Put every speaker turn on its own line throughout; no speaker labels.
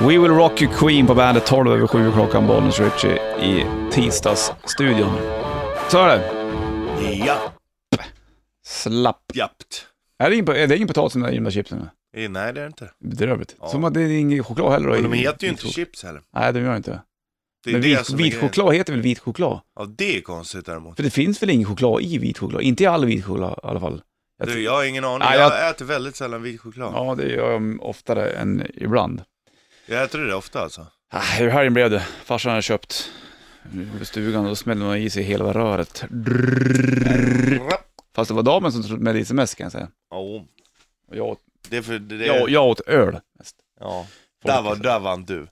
We Will Rock You Queen på bandet 12 över 7 klockan, Bollnäs Ritchie i tisdagsstudion. Så är det.
Ja,
Slapp.
jappt.
Är det ingen, är det ingen potatis i de där gömda chipsen?
Eh, Nej, det är det inte.
Bedrövligt.
Ja.
Som att det är ingen choklad heller. då
Men
i-
de heter
i
ju inte
choklad.
chips heller.
Nej, de gör inte det.
Det är
Men
det
vit,
som är
vit
grejen.
choklad heter väl vit choklad?
Ja, det är konstigt däremot.
För det finns väl ingen choklad i vit choklad? Inte i all vit choklad i alla fall. Jag
Du,
tror-
jag har ingen aning.
Nej,
jag... äter väldigt sällan vit choklad.
Ja, det gör jag oftare än ibland.
Jag äter det ofta alltså.
Ah, Hur helgen blev det? Farsan hade köpt i stugan och då smällde man i sig hela röret. Fast det var damen som smällde i sig mest kan jag säga.
Ja,
Och jag, åt,
det är för det. det-
jag, jag åt öl mest.
ja. Där, var, där vann du.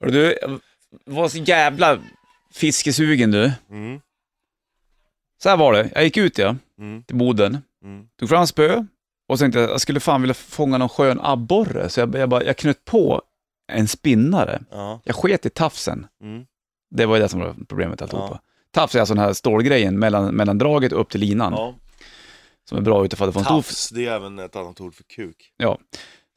Hörru du, jag var så jävla fiskesugen du.
Mm,
Så här var det, jag gick ut ja,
mm,
till Boden,
mm.
tog fram spö och tänkte jag jag skulle fan vilja fånga någon skön abborre. Så jag, jag, bara, jag knöt på en spinnare.
Ja,
Jag sket i tafsen.
mm,
Det var ju det som var problemet alltihopa. Tafs är alltså den här stålgrejen mellan, mellan draget upp till linan,
ja.
som är bra utifall det får en stor...
Tafs, det är även ett annat ord för kuk.
Ja.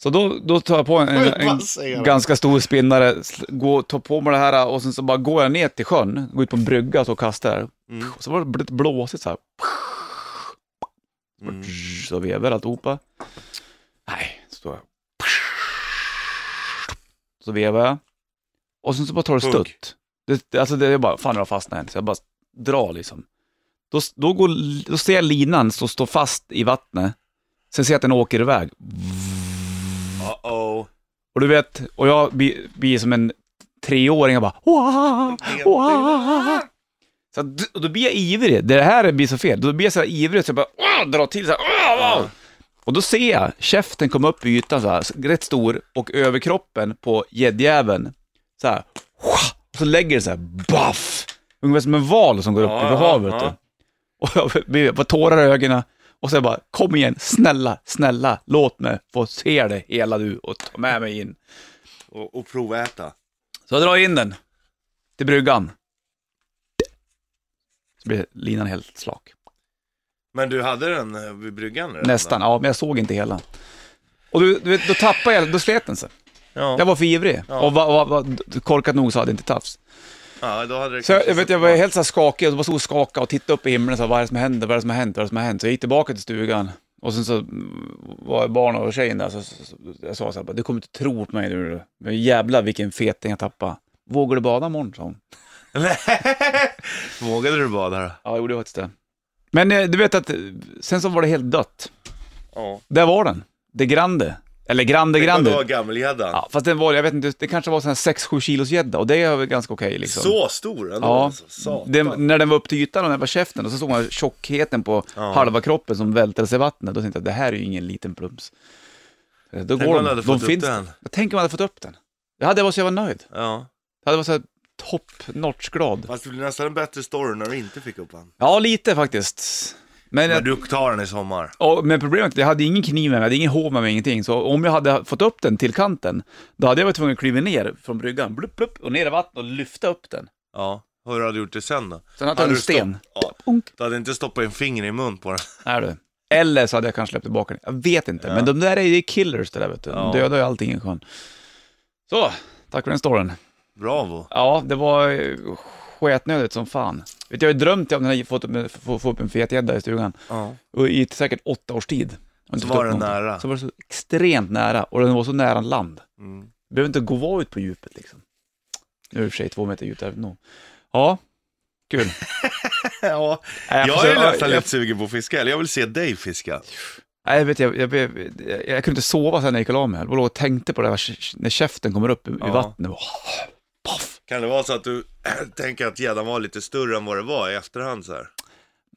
Så då, då tar jag på en, en, en
Vad säger du?
ganska stor spinnare, sl- går, tar på mig det här och sen så bara går jag ner till sjön, går ut på en brygga så och kastar.
Mm,
Och så var det lite blåsigt så här.
mm.
Så vevar alltihopa. Nej, så står jag. Så vevar jag. Och sen så bara tar det
Hugg.
stutt. Det, det- alltså det är bara, fan jag har fastnat en. Så jag bara drar liksom. Då, då, går, då ser jag linan stå, stå fast i vattnet. Sen ser jag att den åker iväg.
Uh-oh.
Och du vet, och jag blir, blir som en treåring och bara "Wah, wah." Så att, och då blir jag ivrig. Det här blir så fel. Då blir jag så här ivrig så jag bara "Åh!" drar till så här. "Åh, wow!" Och då ser jag käften komma upp i ytan så här, rätt stor, och över kroppen på gäddjäveln så här. "Wah!" Och så lägger det så här, baff! Ungefär som en val som går upp
Ja,
över
ja,
havet.
ja.
då. Och jag blir- jag får tårar i ögonen och så jag bara, kom igen, snälla, snälla, låt mig få se det hela du och ta med mig in.
Och, och proväta.
Så jag drar in den till bryggan. Så blir linan helt slak.
Men du hade den eh, vid bryggan? redan,
Nästan,
va?
ja, men jag såg inte hela. Och du, du vet, då tappade jag, då slet den sig.
Ja.
Jag var för ivrig
Ja.
och var, var, var, korkat nog så hade jag inte tafs.
ja, då hade det
Så jag,
kanske
jag, vet, jag
suttit
var
kvar.
helt så här skakig och bara stod och skakade och tittade upp i himlen. Så här, vad är det som händer? Vad är det som har hänt? Vad är det som har hänt? Så jag gick tillbaka till stugan och sen så mm, var barnen och tjejen där. Så, så, så, jag sa så här, bara, du kommer inte tro på mig nu. Men jävlar vilken feting jag tappade. Vågar du bada imorgon? sa hon.
Vågade du bada då?
Ja, jag gjorde faktiskt det. Men eh, du vet att eh, sen så var det helt dött.
Ja.
Där var den. Det Grande. Eller Grande
Det var
Grande.
gammelgäddan.
Ja, fast den var, jag vet inte, det kanske var sån här 6-7 kilos gädda och det är väl ganska okej liksom.
Så stor ändå
Ja.
alltså. Satan.
Den, när den var upp till ytan och den var käften och så såg man tjockheten på
Ja.
halva kroppen som vältade sig i vattnet. Då tänkte jag, det här är ju ingen liten plums. Eh, Då
Tänk om
går
man
de.
hade
de
fått upp
finns.
den.
Jag tänker om man hade fått upp den. Det hade varit så jag var nöjd.
Ja.
Det hade varit så här top notch glad.
Fast det blir nästan en bättre story när du inte fick upp den.
Ja, lite faktiskt. Men, jag-
Men du tar den i sommar.
Ja, men problemet är att jag hade ingen kniv med mig, jag hade ingen hov med mig, ingenting. Så om jag hade fått upp den till kanten, då hade jag varit tvungen att kliva ner från bryggan, blupp, blupp, och ner i vattnet och lyfta upp den.
Ja. Hur hade du gjort det sen då?
Sen hade jag
Hade
en
du
sten.
stopp- Ja.
Unk.
Du hade inte stoppat en finger i mun på den.
Är du. Eller så hade jag kanske släppt tillbaka den. Jag vet inte, men de där är ju killers det där vet du. De
Ja.
dödar ju allting i sjön. Så, tack för den storyn.
Bravo.
Ja, det var eh, sketnödigt som fan. Vet du, jag har ju drömt om den här, fått upp, få, få upp en fet gädda i stugan.
Ja.
Och i säkert åtta års tid. Och inte
Så
fått
var
upp
den
någonting.
nära.
Så var det så extremt nära och den var så nära land.
Mm.
Du behöver inte gå vara ut på djupet liksom. Nu är det i och för sig två meter djupt även nog. Ja, kul.
ja.
Nej,
Jag,
får se-
är nästan
jag,
lite sugen på att fiska, eller jag vill se dig fiska.
Nej, jag, vet, jag, jag, jag, jag, jag kunde inte sova sen när jag gick och la mig. Jag låg och tänkte på det här sh- när käften kommer upp i, i
Ja.
vattnet. Bara, Poff!
Kan det vara så att du tänker att gäddan var lite större än vad det var i efterhand så här?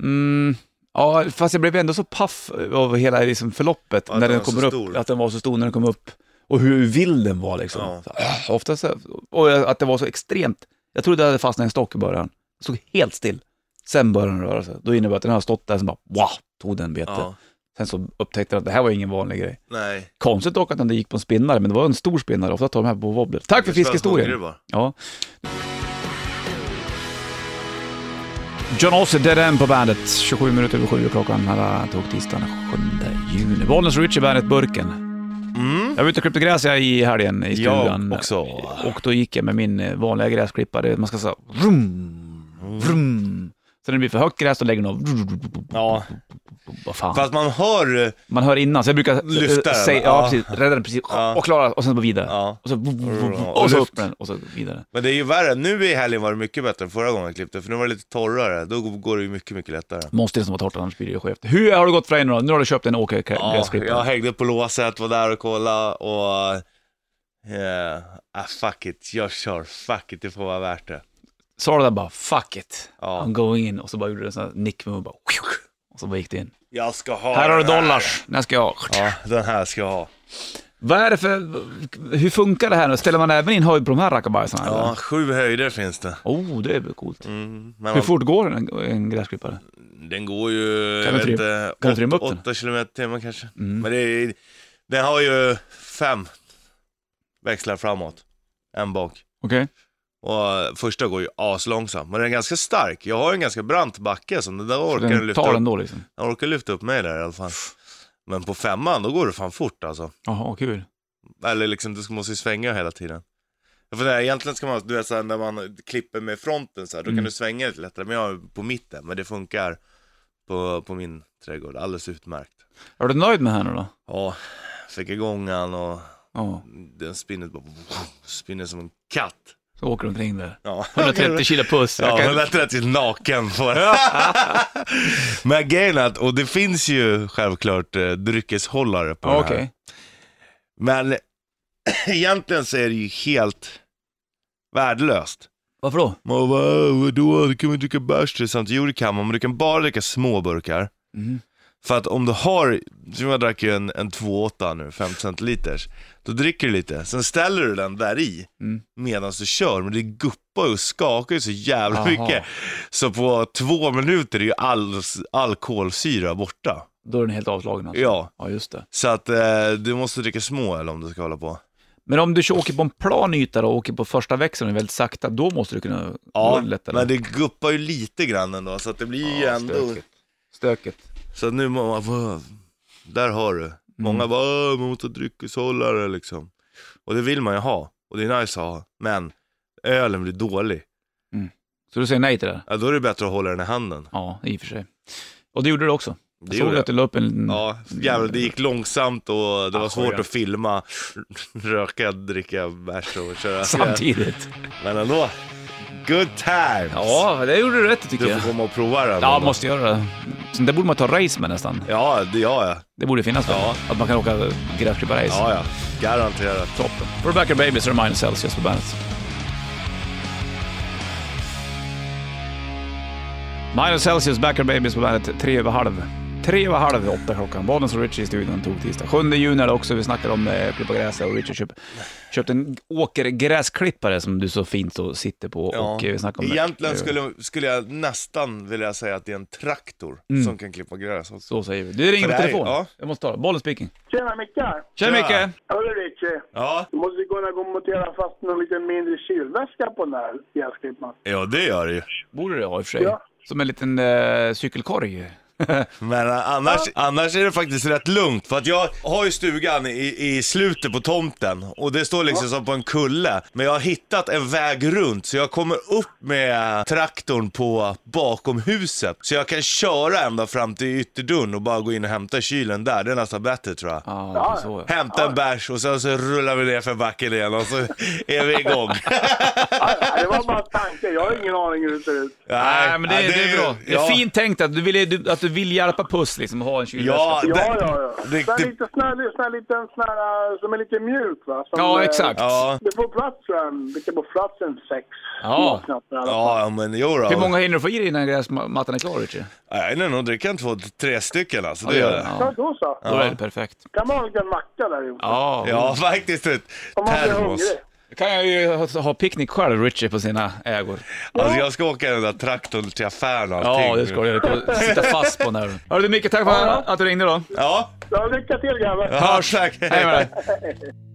Mm, ja, fast jag blev ändå så paff av hela liksom, förloppet
Ja, att
när
den
den
var så
kommer upp.
stor.
Att den var så stor när den kom upp. Och hur vild den var liksom.
Ja.
Så, ah, oftast, så- och att det var så extremt. Jag trodde det hade fastnat i en stock i början. Jag stod helt still. Sen började den röra sig. Då innebär det att den har stått där som bara, wow, tog den bete.
Ja.
Sen så upptäckte jag att det här var ingen vanlig grej.
Nej.
Konstigt dock att den gick på en spinnare, men det var en stor spinnare. Ofta tar de här på wobbler. Tack för
Det är så hungrig
fiskehistorien!
bara.
Ja. John Ossie, Dead End på bandet. 27 minuter över 7 klockan. Här tog tisdagen den 7 juni. Bollnäs Richie, bandet Burken.
Mm.
Jag var ute och klippte gräs jag i helgen i
Jag
stugan.
också.
Och då gick jag med min eh, vanliga gräsklippare. Man ska säga vrum, vrum. Så när det blir för högt gräs, då lägger den av.
Ja.
Vad fan.
Fast man hör... eh,
Man hör innan, så jag brukar eh,
Lyfta den,
säga,
ja.
ja precis, rädda den precis,
Ja.
och klara, och sen bara vidare.
Ja.
Och så, och,
Och
så
lyft.
upp den, och så vidare.
Men det är ju värre. Nu i helgen var det mycket bättre än förra gången jag klippte, för nu var det lite torrare. Då går det ju mycket, mycket lättare.
Måste liksom vara torrt, annars blir det ju skevt. Hur har det gått för dig nu då? Nu har du köpt en
Ja,
åkergräsklippare.
jag hängde på låset, var där och kollade och... eh, ah, fuck it, jag kör. Fuck it, det får vara värt det.
Sa du där bara, fuck it,
Ja.
I'm going in, och så bara gjorde du en sån här nickmove, bara, och så bara gick det in.
Jag ska ha
Här har du
den här.
dollars, den här ska jag ha.
Ja, den här ska jag ha.
Vad är det för, hur funkar det här nu? Ställer man även in höjd på de här rackabajsarna?
Ja,
eller?
sju höjder finns det.
Oh, det är väl coolt.
Mm, men
Hur
man,
fort går en, en gräsklippare?
den går ju,
Kan du
jag vet
trim-
inte,
kan du trimma upp
åt-
den?
åtta kilometer i timmen kanske.
Mm.
Men det är, den har ju fem växlar framåt, en bak.
Okej.
Och eh, första går ju aslångsamt, men den är ganska stark. Jag har en ganska brant backe, så den där
Så
orkar den
Den
lyfta
tar
upp.
den då liksom?
Den orkar lyfta upp mig där i alla fall. Men på femman, då går det fan fort alltså.
Jaha, kul.
Eller liksom, du ska- måste ju svänga hela tiden. Jag funderar, egentligen ska man, du vet såhär när man klipper med fronten så här, då
Mm.
kan du svänga lite lättare. Men jag är på mitten, men det funkar på, på min trädgård alldeles utmärkt.
Är du nöjd med henne då?
Ja, fick igång han och
Ja,
den spinner bara, spinner som en katt.
så åker du omkring där.
Ja.
130 kilo puss.
Ja,
Jag kan...
130 naken på Men grejen är att, och det finns ju självklart eh, dryckeshållare på
Ja,
den
Okej.
här. Men egentligen så är det ju helt värdelöst.
Varför då?
Man bara, "Äh, vadå, du kan väl dricka bärs till samtidigt? Jo det kan man, men du kan bara dricka små burkar.
Mm.
För att om du har, som jag drack ju en, en 2,8 nu, 50 centiliters. Då dricker du lite, sen ställer du den där i
Mm.
medan du kör, men det guppar ju och skakar ju så jävla
Aha.
mycket. Så på två minuter är ju all, all kolsyra borta.
Då är den helt avslagen alltså.
Ja,
Ja, just det.
så att eh, du måste dricka små eller om du ska hålla på.
Men om du kör- åker på en plan yta då, och åker på första växeln och är väldigt sakta, då måste du kunna
Ja,
gå lättare.
men det guppar ju lite grann ändå, så att det blir ju
Ja,
ändå...
stökigt. Stöket.
Så att nu må man... "Vad?" Där har du.
Mm.
Många bara "Åh, man måste ha dryckeshållare liksom. Och det vill man ju ha. Och det är nice att ha. Men ölen blir dålig.
Så du säger nej till det?
Ja, då är det bättre att hålla den i handen.
Ja, i och för sig. Och det gjorde du också. Jag
Det
såg
gjorde
att du Mm. la upp en liten...
Ja, jävlar, det gick långsamt och det var
Ah,
svårt
skönt.
att filma, röka, dricka bärs och köra.
samtidigt.
Men ändå, good times!
Ja, det gjorde du rätt tycker
Du
jag.
får komma och prova den.
Ja,
ändå.
måste göra det. Sånt där borde man ta race med nästan.
Ja, det gör jag.
Det borde finnas väl?
Ja.
Att man kan åka gräsklippar-race.
Ja, ja. Garanterat.
Toppen. Rebecca Babies Remind Celsius på bandet. Minus Celsius, Backer Babies på bandet, tre över halv. Tre över halv, åtta klockan. Bollnäs och Richie i studion tog tisdag. 7 juni är det också. Vi snackade om eh, klippa gräs och Richie köp, köpte en åkergräsklippare som du så fint så sitter på.
Ja.
Och eh, vi snackade om
Egentligen
eh,
skulle, skulle jag nästan vilja säga att det är en traktor
Mm.
som kan klippa gräs också.
Så säger vi. Du ringer
För
på
det här-
telefon.
ja.
Jag måste ta det. Bollen speaking.
Tjena Mickan!
Tjena
Tjena.
Micke!
Hörru Richie,
Ja.
du måste kunna gå och montera fast någon liten mindre kylväska på den här gräsklipparen.
ja, det gör det ju.
Borde det ha i och för sig.
Ja.
Som en liten eh, cykelkorg.
Men eh, annars, annars är det faktiskt rätt lugnt. För att jag har ju stugan i, i slutet på tomten och det står liksom som på en kulle. Men jag har hittat en väg runt så jag kommer upp med traktorn på bakom huset. Så jag kan köra ända fram till ytterdörren och bara gå in och hämta kylen där. Det är nästan bättre tror jag.
Ja,
Ja.
så. ja.
Hämta en bärs och sen så rullar vi ner för backen igen och så är vi igång.
Nej, Det var bara en tanke, jag har ingen aning hur det ser ut.
Nej, men det,
nej,
det, är
ju-
bra. Det är
ja.
fint tänkt att du vill, du, att du vill hjälpa Puss liksom, och ha en kylväska.
Ja,
Ja,
det-
ja,
det-
ja. Sån
det-
här lite snäll, sån här liten sån här, eh, som är lite mjuk va? Som,
Ja,
eh,
exakt.
Ja,
Det får plats en, det kan få plats en sex.
Ja.
Knappt, i alla fall.
ja men jo då.
Hur många hinner du få i dig innan gräsmattan är klar, Richie?
Nej, nej, nog dricker en två, tre stycken alltså. Det gör det.
Ja,
Ja, då så.
Då är det perfekt.
Kan man ha en liten macka där ihop?
Ja.
Ja, faktiskt. Ett
Om man blir
termos.
hungrig.
Då kan jag ju ha, ha picknick själv, Richie, på sina ägor.
Alltså jag ska åka den där traktorn till affären och allting.
Ja, det ska du göra. Du kommer Sitta fast på den här. Hörru du, Micke, tack för att du ringde då.
Ja,
Ja, lycka till grabbar!
ja tack.
Hej med dig.